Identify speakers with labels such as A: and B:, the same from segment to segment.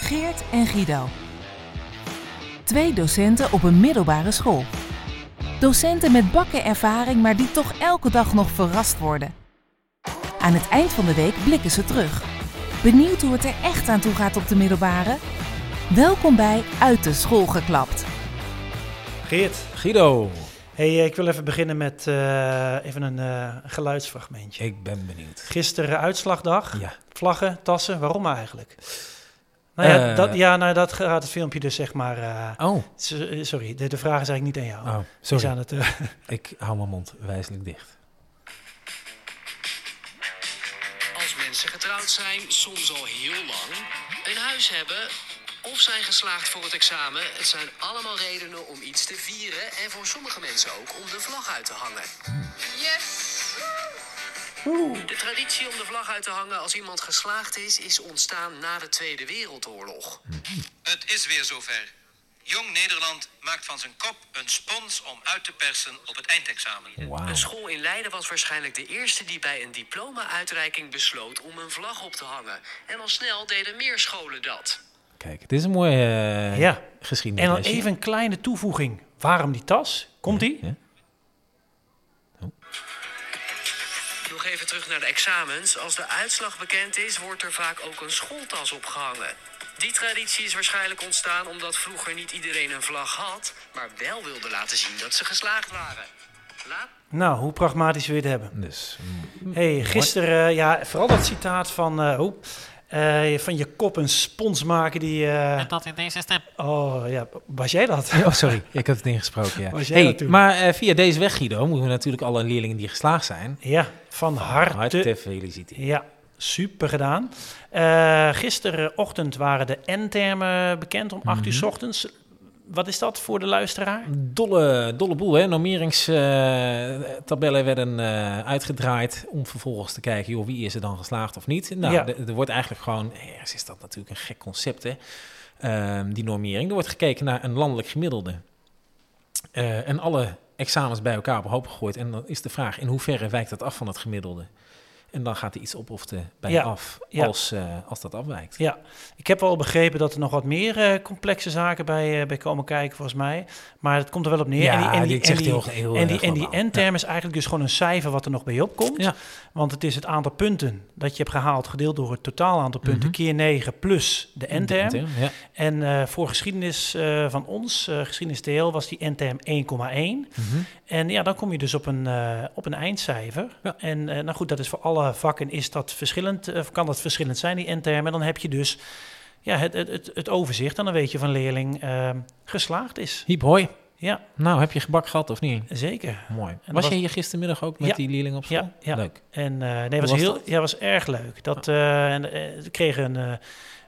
A: Geert en Guido. Twee docenten op een middelbare school. Docenten met bakken ervaring, maar die toch elke dag nog verrast worden. Aan het eind van de week blikken ze terug. Benieuwd hoe het er echt aan toe gaat op de middelbare? Welkom bij Uit de School geklapt.
B: Geert,
C: Guido,
B: hey, eh, ik wil even beginnen met eh, even een eh, geluidsfragmentje.
C: ik ben benieuwd.
B: Gisteren uitslagdag,
C: Ja.
B: vlaggen, tassen, waarom eigenlijk? Nou ja,
C: Eh.
B: dat, ja, nou, dat gaat het filmpje dus zeg maar... eh,
C: Oh,
B: so- eh, sorry, de, de vraag is eigenlijk niet aan jou.
C: oh
B: Die is
C: sorry.
B: aan het, eh,
C: Ik hou mijn mond wijselijk dicht.
D: Als mensen getrouwd zijn, soms al heel lang, een huis hebben of zijn geslaagd voor het examen, het zijn allemaal redenen om iets te vieren en voor sommige mensen ook om de vlag uit te hangen. Yes! De traditie om de vlag uit te hangen als iemand geslaagd is, is ontstaan na de Tweede Wereldoorlog.
E: Het is weer zover. Jong Nederland maakt van zijn kop een spons om uit te persen op het eindexamen.
C: Wauw.
D: Een school in Leiden was waarschijnlijk de eerste die bij een diploma-uitreiking besloot om een vlag op te hangen. En al snel deden meer scholen dat.
C: Kijk, het is een mooie eh,
B: Ja. en
C: geschiedenis.
B: dan even een kleine toevoeging. Waarom die tas? Komt die?
C: Ja.
D: Nog even terug naar de examens. Als de uitslag bekend is, wordt er vaak ook een schooltas opgehangen. Die traditie is waarschijnlijk ontstaan omdat vroeger niet iedereen een vlag had, maar wel wilde laten zien dat ze geslaagd waren. Laat
B: Nou, hoe pragmatisch wil je het hebben?
C: Dus, mm,
B: Hey, gisteren, eh, ja, vooral dat citaat van, eh, oh, eh, van je kop een spons maken die... eh,
F: En dat in deze stem.
B: oh ja, was jij dat?
C: oh, sorry, ik had het ingesproken. Ja.
B: Was jij dat
C: Hey,
B: toen?
C: maar eh, via deze weg, Guido, moeten we natuurlijk alle leerlingen die geslaagd zijn.
B: Ja, van harte.
C: Harte feliciteren.
B: Ja, super gedaan. Eh, gisterenochtend waren de N-termen bekend om 8 uur 's ochtends. Wat is dat voor de luisteraar?
C: Dolle, dolle boel, hè? Normeringstabellen werden eh, uitgedraaid om vervolgens te kijken, joh, wie is er dan geslaagd of niet? Nou,
B: Ja.
C: de- er wordt eigenlijk gewoon, ergens is dat natuurlijk een gek concept, hè? Ehm, die normering. Er wordt gekeken naar een landelijk gemiddelde. Eh, en alle examens bij elkaar op een hoop gegooid. En dan is de vraag, in hoeverre wijkt dat af van het gemiddelde? En dan gaat er iets op of de bij
B: Ja,
C: af,
B: ja.
C: als, eh, als dat afwijkt.
B: Ja, ik heb al begrepen dat er nog wat meer eh, complexe zaken bij, eh, bij komen kijken, volgens mij. Maar het komt er wel op neer.
C: Ja,
B: en die, en die,
C: dit zegt
B: en die,
C: heel- heel eh,
B: en die,
C: erg
B: en die
C: globaal.
B: N-term is eigenlijk dus gewoon een cijfer wat er nog bij opkomt.
C: Ja.
B: Want het is het aantal punten dat je hebt gehaald gedeeld door het totaal aantal punten keer 9 plus de N-term.
C: Mhm. De N-term, ja.
B: En eh, voor geschiedenis eh, van ons, eh geschiedenis TL, was die N-term 1,1.
C: Mhm.
B: En ja, dan kom je dus op een, eh, op een eindcijfer.
C: Ja.
B: En eh, nou goed, dat is voor alle vakken is dat verschillend, eh, of kan dat verschillend zijn, die N-term. En dan heb je dus ja, het, het, het, het overzicht en dan weet je van leerling eh, geslaagd is.
C: Hiep, hoi.
B: Ja,
C: Nou, heb je gebak gehad of niet?
B: zeker.
C: Mooi.
B: dat
C: Was,
B: was-
C: je hier gistermiddag ook met
B: Ja.
C: die leerling op school?
B: Ja, ja.
C: Leuk.
B: En eh, nee, was
C: was
B: heel,
C: dat?
B: ja, was erg leuk. Dat, eh, en, eh, we kregen een,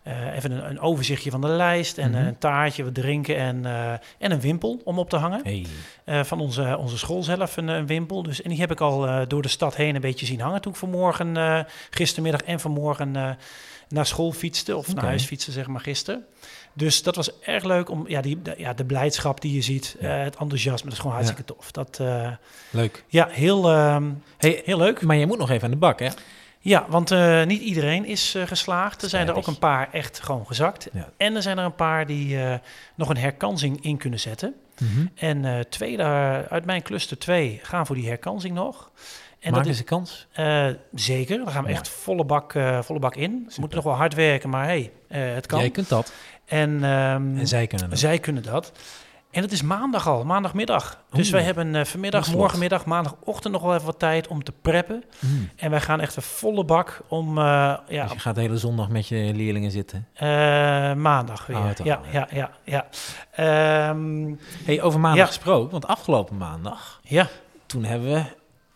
B: eh, eh, even een, een overzichtje van de lijst en eh,
C: Mhm.
B: een taartje, wat drinken en, eh, en een wimpel om op te hangen.
C: Hey.
B: Eh, van onze, onze school zelf een, eh, een wimpel. Dus, en die heb ik al eh, door de stad heen een beetje zien hangen toen ik vanmorgen, eh, gistermiddag en vanmorgen eh, naar school fietste. Of naar
C: Oké.
B: huis fietste, zeg maar, gisteren. Dus dat was erg leuk om, ja, die, de, ja, de blijdschap die je ziet,
C: Ja.
B: eh, het enthousiasme, dat is gewoon hartstikke tof. Dat, eh,
C: Leuk.
B: ja, heel, ehm,
C: Hey,
B: heel leuk.
C: Maar je moet nog even aan de bak, hè?
B: Ja, want eh, niet iedereen is eh, geslaagd. Er zijn er ook
C: Spijtig.
B: een paar echt gewoon gezakt.
C: Ja.
B: En er zijn er een paar die eh, nog een herkansing in kunnen zetten.
C: Mhm.
B: En eh, twee daar, uit mijn cluster twee gaan voor die herkansing nog. En
C: Maak
B: dat
C: eens
B: is
C: een kans.
B: eh, zeker. Daar gaan we
C: Mooi.
B: echt volle bak, eh, volle bak in. We moeten nog wel hard werken, maar hey, eh, het kan.
C: Jij kunt dat.
B: En, ehm,
C: En zij kunnen dat.
B: zij kunnen dat. En het is maandag al, maandagmiddag. Dus
C: Oeh.
B: wij hebben eh, vanmiddag,
C: Nog vlot.
B: morgenmiddag, maandagochtend nog wel even wat tijd om te preppen.
C: Mm.
B: En wij gaan echt een volle bak om eh, Hmm. ja,
C: Dus je gaat de hele zondag met je leerlingen zitten.
B: eh, maandag weer.
C: Ah, het al,
B: ja, ja, ja, ja. Ehm,
C: Hey, over maandag
B: Ja.
C: gesproken, want afgelopen maandag,
B: ja,
C: toen hebben we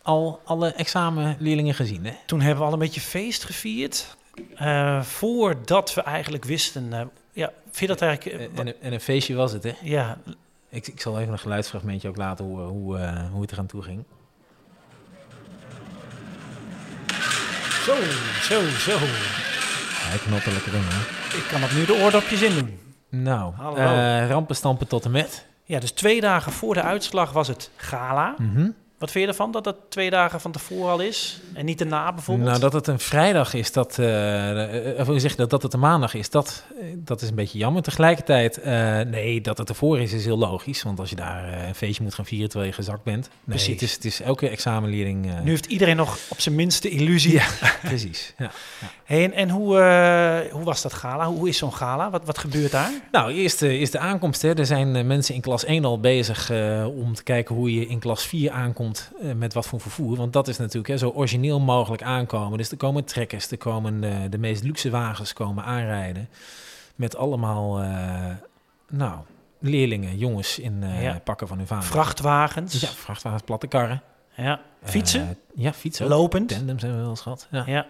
C: al alle examenleerlingen gezien, hè?
B: toen hebben we al een beetje feest gevierd. eh, voordat we eigenlijk wisten. eh, ja, vind je dat eigenlijk. eh,
C: En, en, en een feestje was het, hè?
B: ja,
C: Ik, ik zal even een geluidsfragmentje ook laten hoe, eh, hoe, eh, hoe het eraan toe ging.
B: zo, zo, zo.
C: Hij knotte lekker in, hè?
B: Ik kan dat nu de oordopjes in doen.
C: Nou,
B: Hallo.
C: eh, rampen stampen tot en met.
B: Ja, dus twee dagen voor de uitslag was het gala.
C: Mhm.
B: Wat vind je ervan dat dat twee dagen van tevoren al is en niet daarna bijvoorbeeld?
C: Nou, dat het een vrijdag is, dat, eh, eh, of hoe zeg je dat, dat het een maandag is, dat, eh, dat is een beetje jammer. Tegelijkertijd, eh, nee, dat het ervoor is, is heel logisch. Want als je daar eh, een feestje moet gaan vieren terwijl je gezakt bent. Nee,
B: Precies.
C: Het is, het is elke examenleerling. eh,
B: Nu heeft iedereen nog op zijn minste illusie.
C: ja, precies. Ja.
B: Hey, en en hoe, eh, hoe was dat gala? Hoe, hoe is zo'n gala? Wat, wat gebeurt daar?
C: Nou, eerst eh, is de aankomst. Hè. Er zijn eh, mensen in klas 1 al bezig eh, om te kijken hoe je in klas 4 aankomt eh, met wat voor vervoer. Want dat is natuurlijk hè, zo origineel mogelijk aankomen. Dus er komen trekkers, er komen eh, de meest luxe wagens komen aanrijden. Met allemaal, eh, nou, leerlingen, jongens in eh,
B: Ja.
C: pakken van hun vader.
B: Vrachtwagens,
C: Ja,
B: ja.
C: vrachtwagens, platte karren.
B: fietsen,
C: Eh, ja, fietsen. ook.
B: lopend.
C: Tandems hebben we wel eens gehad. Ja.
B: Ja.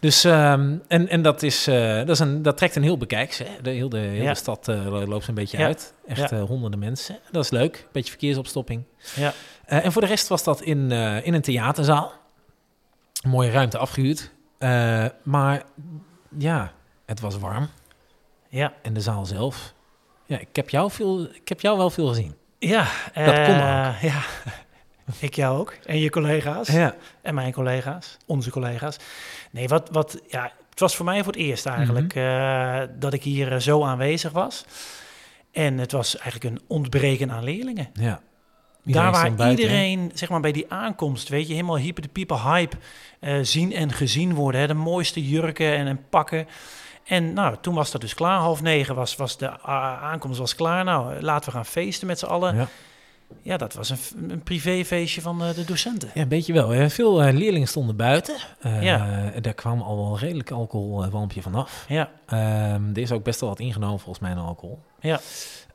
C: Dus, ehm, en, en dat, is, eh, dat, is een, dat trekt een heel bekijks. Hè? De, heel de, heel
B: Ja.
C: de stad eh, lo- loopt een beetje
B: Ja.
C: uit.
B: Ja.
C: Echt eh, honderden mensen. Dat is leuk. Beetje verkeersopstopping.
B: Ja.
C: Eh, en voor de rest was dat in, eh, in een theaterzaal. Een mooie ruimte afgehuurd. Eh, maar ja, het was warm.
B: Ja.
C: En de zaal zelf. Ja, ik heb jou, veel, ik heb jou wel veel gezien.
B: Ja,
C: Dat kon
B: eh, Ja. Ik jou ook. En je collega's.
C: Ja.
B: En mijn collega's. Onze collega's. Nee, wat, wat, ja, het was voor mij voor het eerst eigenlijk
C: Mhm.
B: eh, dat ik hier eh, zo aanwezig was. En het was eigenlijk een ontbreken aan leerlingen.
C: ja.
B: Daar waar
C: stond buiten, hè?
B: iedereen, zeg maar bij die aankomst, weet je, helemaal hyper de pieper hype eh, zien en gezien worden. Hè, de mooiste jurken en, en pakken. En nou, toen was dat dus klaar. Half negen was, was de a- aankomst was klaar. Nou, eh, laten we gaan feesten met z'n allen. Ja,
C: Ja.
B: dat was een, f- een privéfeestje van eh, de docenten.
C: Ja, een beetje wel. hè. Veel eh, leerlingen stonden buiten. Eh,
B: Ja.
C: Daar kwam al wel redelijk alcoholwampje vanaf.
B: Ja,
C: Ehm, er is ook best wel wat ingenomen volgens mij aan alcohol.
B: Ja.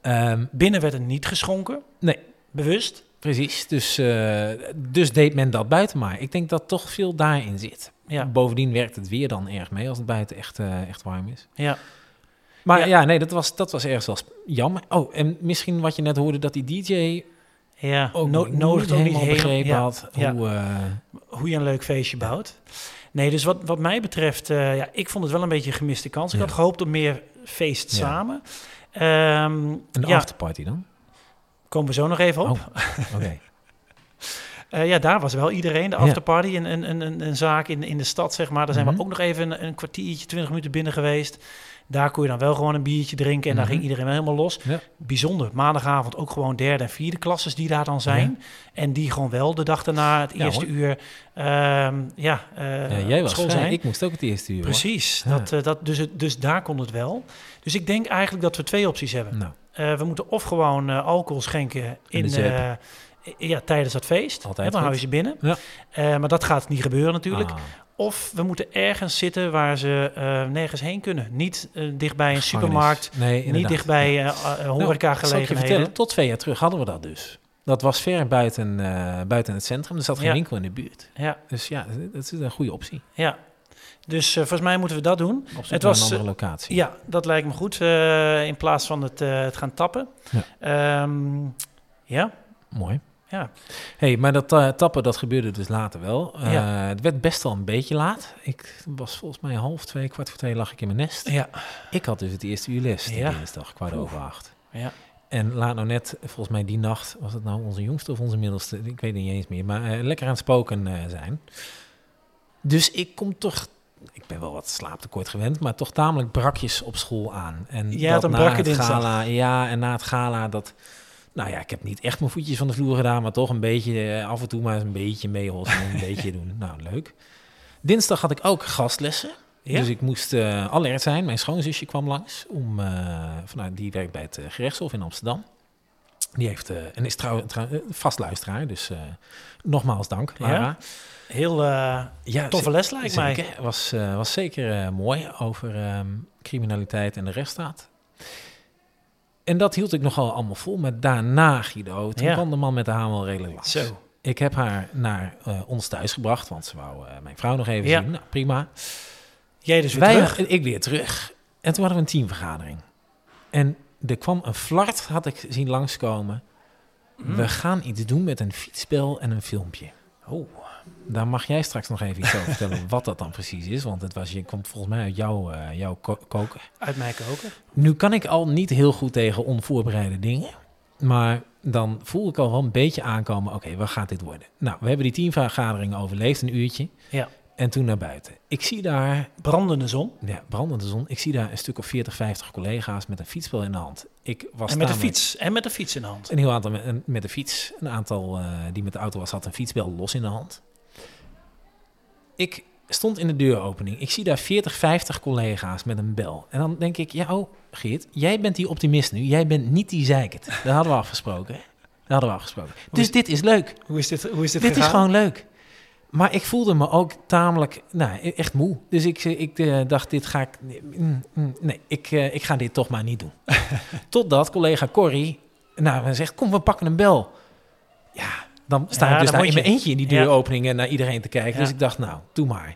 C: Ehm,
B: binnen werd er niet geschonken.
C: Nee.
B: Bewust.
C: precies. Dus, eh, dus deed men dat buiten maar. Ik denk dat toch veel daarin zit.
B: Ja,
C: Bovendien werkt het weer dan erg mee als het buiten echt, eh, echt warm is.
B: ja.
C: Maar
B: Ja.
C: ja, nee, dat was, dat was ergens wel sp- jammer. Oh, en misschien wat je net hoorde, dat die DJ
B: ja.
C: ook
B: No- nodig ook niet
C: helemaal
B: helemaal
C: begrepen
B: ja.
C: had
B: ja.
C: hoe... eh,
B: hoe je een leuk feestje bouwt. Nee, dus wat, wat mij betreft, eh, ja, ik vond het wel een beetje een gemiste kans. Ik
C: Ja.
B: had gehoopt op meer feest
C: Ja.
B: samen. Ehm,
C: een
B: ja,
C: afterparty dan?
B: komen we zo nog even op.
C: Oh. Oké.
B: Eh, ja, daar was wel iedereen, de
C: Ja.
B: afterparty, een, een, een- een, een zaak in, in de stad, zeg maar. Daar zijn
C: Mhm.
B: we ook nog even een, een kwartiertje, twintig minuten binnen geweest. Daar kon je dan wel gewoon een biertje drinken en daar
C: Mhm.
B: ging iedereen wel helemaal los.
C: Ja.
B: Bijzonder, maandagavond ook gewoon derde en vierde klasses die daar dan zijn. En die gewoon wel de dag daarna, het
C: Ja,
B: eerste
C: hoor.
B: uur, ehm, ja, eh,
C: Ja, jij
B: op
C: was
B: school
C: vrij.
B: zijn.
C: Ik moest ook het eerste uur. hoor.
B: Precies,
C: Ja.
B: dat, eh, dat, dus, het- dus daar kon het wel. Dus ik denk eigenlijk dat we twee opties hebben.
C: Nou,
B: Eh, we moeten of gewoon eh, alcohol schenken
C: In
B: in,
C: de zeep.
B: eh, ja, tijdens dat feest.
C: Altijd
B: Hè, dan
C: goed.
B: hou je ze binnen.
C: Ja.
B: Eh, maar dat gaat niet gebeuren natuurlijk.
C: ah,
B: Of we moeten ergens zitten waar ze eh, nergens heen kunnen. Niet eh, dichtbij een
C: gevangenis.
B: supermarkt,
C: Nee,
B: niet
C: inderdaad.
B: dichtbij eh eh,
C: Nou, zal ik je
B: horecagelegenheden.
C: vertellen, tot twee jaar terug hadden we dat dus. Dat was ver buiten, eh, buiten het centrum. Er zat geen
B: Ja.
C: winkel in de buurt.
B: ja,
C: Dus ja, dat is een goede optie.
B: ja. Dus eh, volgens mij moeten we dat doen.
C: Op zoek
B: Het
C: naar
B: was,
C: een andere
B: eh,
C: locatie.
B: Ja, dat lijkt me goed. eh, in plaats van het, eh, het gaan tappen. Ja. ja.
C: Mooi.
B: Ja.
C: Hey, maar dat eh, tappen, dat gebeurde dus later wel. Eh,
B: Ja.
C: Het werd best wel een beetje laat. Ik was volgens mij half twee, kwart voor twee lag ik in mijn nest.
B: Ja.
C: Ik had dus het eerste uur les die
B: Ja.
C: dinsdag, kwart
B: Oeh.
C: over acht.
B: Ja.
C: En laat nou net, volgens mij die nacht, was het nou onze jongste of onze middelste, ik weet het niet eens meer, maar eh, lekker aan het spoken eh, zijn. Dus ik kom toch, ik ben wel wat slaaptekort gewend, maar toch tamelijk brakjes op school aan. En
B: Jij
C: dat
B: had een
C: na
B: brakke
C: het
B: dinsdag.
C: Gala, ja, en na het gala dat, nou ja, ik heb niet echt mijn voetjes van de vloer gedaan, maar toch een beetje, eh, af en toe maar eens een beetje meeholsen en een beetje doen. Nou, leuk. Dinsdag had ik ook gastlessen.
B: Ja?
C: Dus ik moest eh, alert zijn. Mijn schoonzusje kwam langs. Om, eh, vanuit, die werkt bij het eh, gerechtshof in Amsterdam. Die heeft, eh, en is trouwens trouw, eh, vast luisteraar. Dus eh, nogmaals dank,
B: Ja?
C: Lara.
B: Heel eh,
C: Ja,
B: toffe les lijkt
C: zeker.
B: mij.
C: Was, eh, was zeker eh, mooi over ehm, criminaliteit en de rechtsstaat. En dat hield ik nogal allemaal vol. Maar daarna, Guido, toen
B: Ja.
C: kwam de man met de haan wel redelijk langs.
B: Zo.
C: Ik heb haar naar eh, ons thuis gebracht, want ze wou eh, mijn vrouw nog even
B: Ja.
C: zien. Nou, prima.
B: Jij dus weer
C: Wij,
B: terug.
C: Ik weer terug. En toen hadden we een teamvergadering. En er kwam een flart, had ik zien langskomen.
B: Mhm.
C: We gaan iets doen met een fietsspel en een filmpje.
B: Oh.
C: Daar mag jij straks nog even iets over vertellen wat dat dan precies is. Want het was, je komt volgens mij uit jouw, eh, jouw ko- koken.
B: Uit mijn koken.
C: Nu kan ik al niet heel goed tegen onvoorbereide dingen. Maar dan voel ik al wel een beetje aankomen, oké, waar gaat dit worden? Nou, we hebben die teamvergadering overleefd, een uurtje.
B: Ja.
C: En toen naar buiten. Ik zie daar,
B: Brandende zon.
C: ja, brandende zon, ik zie daar een stuk of 40, 50 collega's met een fietsbel in de hand. Ik was
B: En met de
C: tamelijk-
B: fiets. En met de fiets in de hand.
C: Een heel aantal met, een- met de fiets. Een aantal eh, die met de auto was, had een fietsbel los in de hand. Ik stond in de deuropening. Ik zie daar 40, 50 collega's met een bel. En dan denk ik, ja, oh, Geert, jij bent die optimist nu. Jij bent niet die zeikert. Dat hadden we afgesproken. hè? Dat hadden we afgesproken. Dus dit is leuk.
B: Hoe is dit, hoe is
C: Dit is gewoon leuk. Maar ik voelde me ook tamelijk, nou, e- echt moe. Dus ik, eh, ik eh, dacht, dit ga ik, nee, mm, mm, nee, ik, eh, ik ga dit toch maar niet doen. Totdat collega Corrie, nou, zegt, kom, we pakken een bel. Ja, dan sta
B: Ja,
C: ik dus
B: dan
C: daar
B: moet
C: in mijn
B: je.
C: eentje in die
B: Ja.
C: deuropening en naar iedereen te kijken.
B: Ja.
C: Dus ik dacht, nou, doe maar.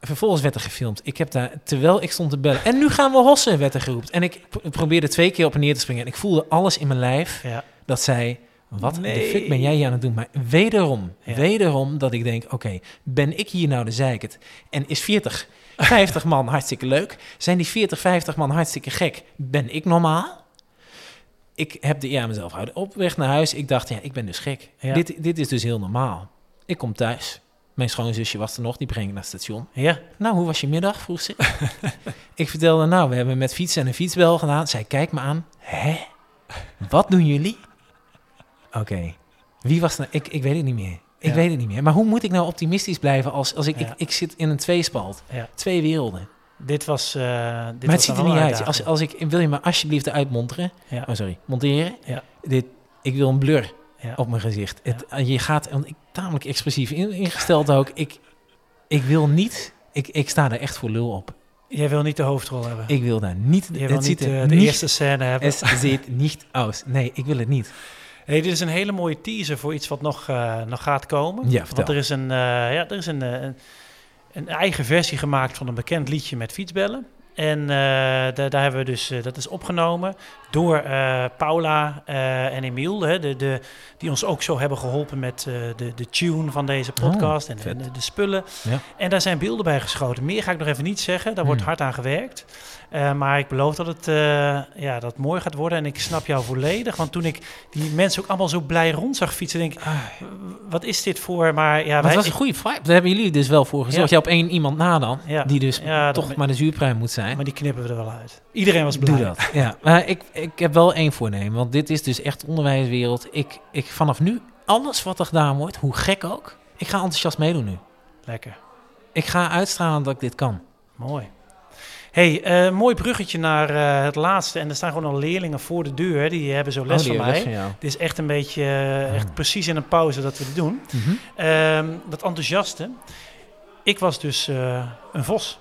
C: Vervolgens werd er gefilmd. Ik heb daar, terwijl ik stond te bellen, en nu gaan we hossen, werd er geroepen. En ik pro- probeerde twee keer op en neer te springen. En ik voelde alles in mijn lijf
B: Ja.
C: dat zij, wat de
B: Nee.
C: fuck ben jij hier aan het doen? Maar wederom,
B: Ja.
C: wederom dat ik denk, oké, ben ik hier nou de zeikert? En is 40, 50 man hartstikke leuk? Zijn die 40, 50 man hartstikke gek? Ben ik normaal? Ik heb de eer aan mezelf houden. Op weg naar huis, ik dacht, ja, ik ben dus gek.
B: Ja.
C: Dit, dit is dus heel normaal. Ik kom thuis. Mijn schoonzusje was er nog, die breng ik naar het station.
B: Ja.
C: Nou, hoe was je middag? vroeg ze. ik vertelde, nou, we hebben met fietsen en een fietsbel gedaan. Zij kijkt me aan. Hè? Wat doen jullie? Oké. Wie was nou? Ik, ik weet het niet meer. Ik
B: Ja.
C: weet het niet meer. Maar hoe moet ik nou optimistisch blijven als, als ik,
B: Ja.
C: ik... Ik zit in een tweespalt.
B: Ja.
C: Twee werelden.
B: Dit was. eh, dit
C: maar
B: was
C: het ziet
B: wel
C: er niet
B: een
C: uit. Als,
B: uitdaging.
C: als ik, wil je me alsjeblieft eruit monteren?
B: Ja.
C: Oh, sorry. Monteren?
B: Ja.
C: Dit, ik wil een blur
B: Ja.
C: op mijn gezicht. Het, je gaat... Want ik tamelijk expressief in- ingesteld ook. Ik, ik wil niet... Ik, ik sta er echt voor lul op.
B: Jij wil niet de hoofdrol hebben.
C: Ik wil daar niet.
B: Jij wil
C: het
B: niet
C: ziet
B: eh,
C: er
B: de,
C: niet-
B: eerste scène hebben.
C: Het ziet niet uit. Nee, ik wil het niet.
B: Hey, dit is een hele mooie teaser voor iets wat nog, eh, nog gaat komen.
C: Ja, vertel.
B: Want er is een, eh, ja, er is een, eh, een, een eigen versie gemaakt van een bekend liedje met fietsbellen. En eh, daar, daar hebben we dus, eh, dat is opgenomen door eh, Paula eh, en Emiel, hè, de, de, die ons ook zo hebben geholpen met eh, de, de tune van deze podcast en
C: Oh, vet.
B: de, de spullen.
C: Ja.
B: En daar zijn beelden bij geschoten. Meer ga ik nog even niet zeggen, daar wordt
C: Hmm.
B: hard aan gewerkt. Eh, maar ik beloof dat het, eh, ja, dat het mooi gaat worden en ik snap jou volledig. Want toen ik die mensen ook allemaal zo blij rond zag fietsen. Denk, ik, wat is dit voor? Ah, Maar ja,
C: Maar het
B: wij,
C: was een goede vibe. Daar hebben jullie dus wel voor gezorgd.
B: Ja.
C: Je op één iemand na dan.
B: Ja.
C: Die dus
B: Ja, dat
C: toch
B: ben-
C: maar de zuurpruim moet zijn.
B: maar die knippen we er wel uit. Iedereen was blij.
C: Doe dat. Ja. Maar ik, ik heb wel één voornemen. Want dit is dus echt onderwijswereld. Ik, ik vanaf nu, alles wat er gedaan wordt, hoe gek ook. Ik ga enthousiast meedoen nu.
B: Lekker.
C: Ik ga uitstralen dat ik dit kan.
B: Mooi. hey, eh, mooi bruggetje naar eh, het laatste. En er staan gewoon al leerlingen voor de deur. Die hebben zo les
C: Oh, die
B: van
C: les
B: mij.
C: van jou.
B: Het is echt een beetje, eh, echt precies in een pauze dat we dit doen.
C: Ah. Mhm.
B: Ehm, dat enthousiaste. Ik was dus eh, een vos.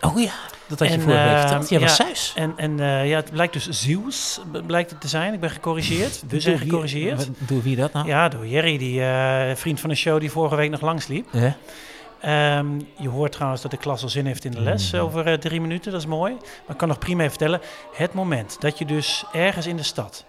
C: Oh ja, dat had je
B: En,
C: vorige week
B: eh,
C: verteld. Jij was
B: ja.
C: Zeus.
B: En, en eh, ja, het blijkt dus Zeus b- blijkt het te zijn. Ik ben gecorrigeerd. We zijn
C: Door wie-
B: gecorrigeerd.
C: Door wie dat nou?
B: Ja, door Jerry, die eh, vriend van de show die vorige week nog langsliep.
C: Hè?
B: Ehm, je hoort trouwens dat de klas al zin heeft in de les
C: Mhm.
B: over eh, drie minuten, dat is mooi. Maar ik kan nog prima even vertellen, het moment dat je dus ergens in de stad,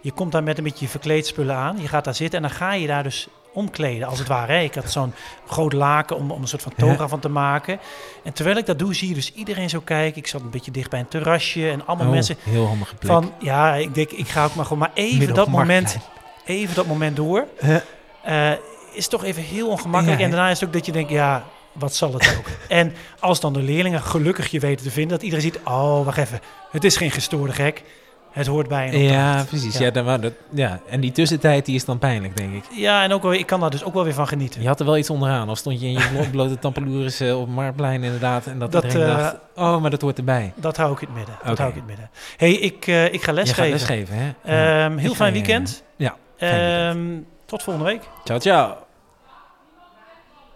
B: je komt daar met een beetje je verkleedspullen aan, je gaat daar zitten en dan ga je daar dus omkleden, als het ware. hè. Ik had zo'n groot laken om, om een soort van toga van te maken. En terwijl ik dat doe, zie je dus iedereen zo kijken. Ik zat een beetje dicht bij een terrasje en allemaal
C: Oh,
B: mensen
C: Heel handige plek.
B: van, ja, ik denk, ik ga ook maar gewoon maar even
C: Midden op
B: dat moment,
C: Marktplein.
B: even dat moment door.
C: Ja.
B: Eh, is toch even heel ongemakkelijk.
C: Ja,
B: en daarna is het ook dat je denkt, ja, wat zal het ook. en als dan de leerlingen gelukkig je weten te vinden, dat iedereen ziet, oh, wacht even, het is geen gestoorde gek. Het hoort bij een
C: Ja,
B: opdracht.
C: precies.
B: Ja.
C: Ja. dan wou dat, ja. En die tussentijd die is dan pijnlijk, denk ik.
B: Ja, en ook, wel- ik kan daar dus ook wel weer van genieten.
C: Je had er wel iets onderaan. Of stond je in je blo- blote tampeloeres eh, op Marktplein inderdaad. En dat,
B: Dat,
C: iedereen
B: eh,
C: dacht, oh, maar dat hoort erbij.
B: Dat hou ik in het midden. Dat
C: Oké.
B: hou ik in het midden. hey, ik, eh, ik ga
C: je gaat
B: lesgeven.
C: lesgeven, hè? Ja.
B: Ehm, heel
C: Ik ga
B: fijn
C: je-
B: weekend. Eh,
C: ja, fijn weekend.
B: Ehm, tot volgende week.
C: Ciao, ciao.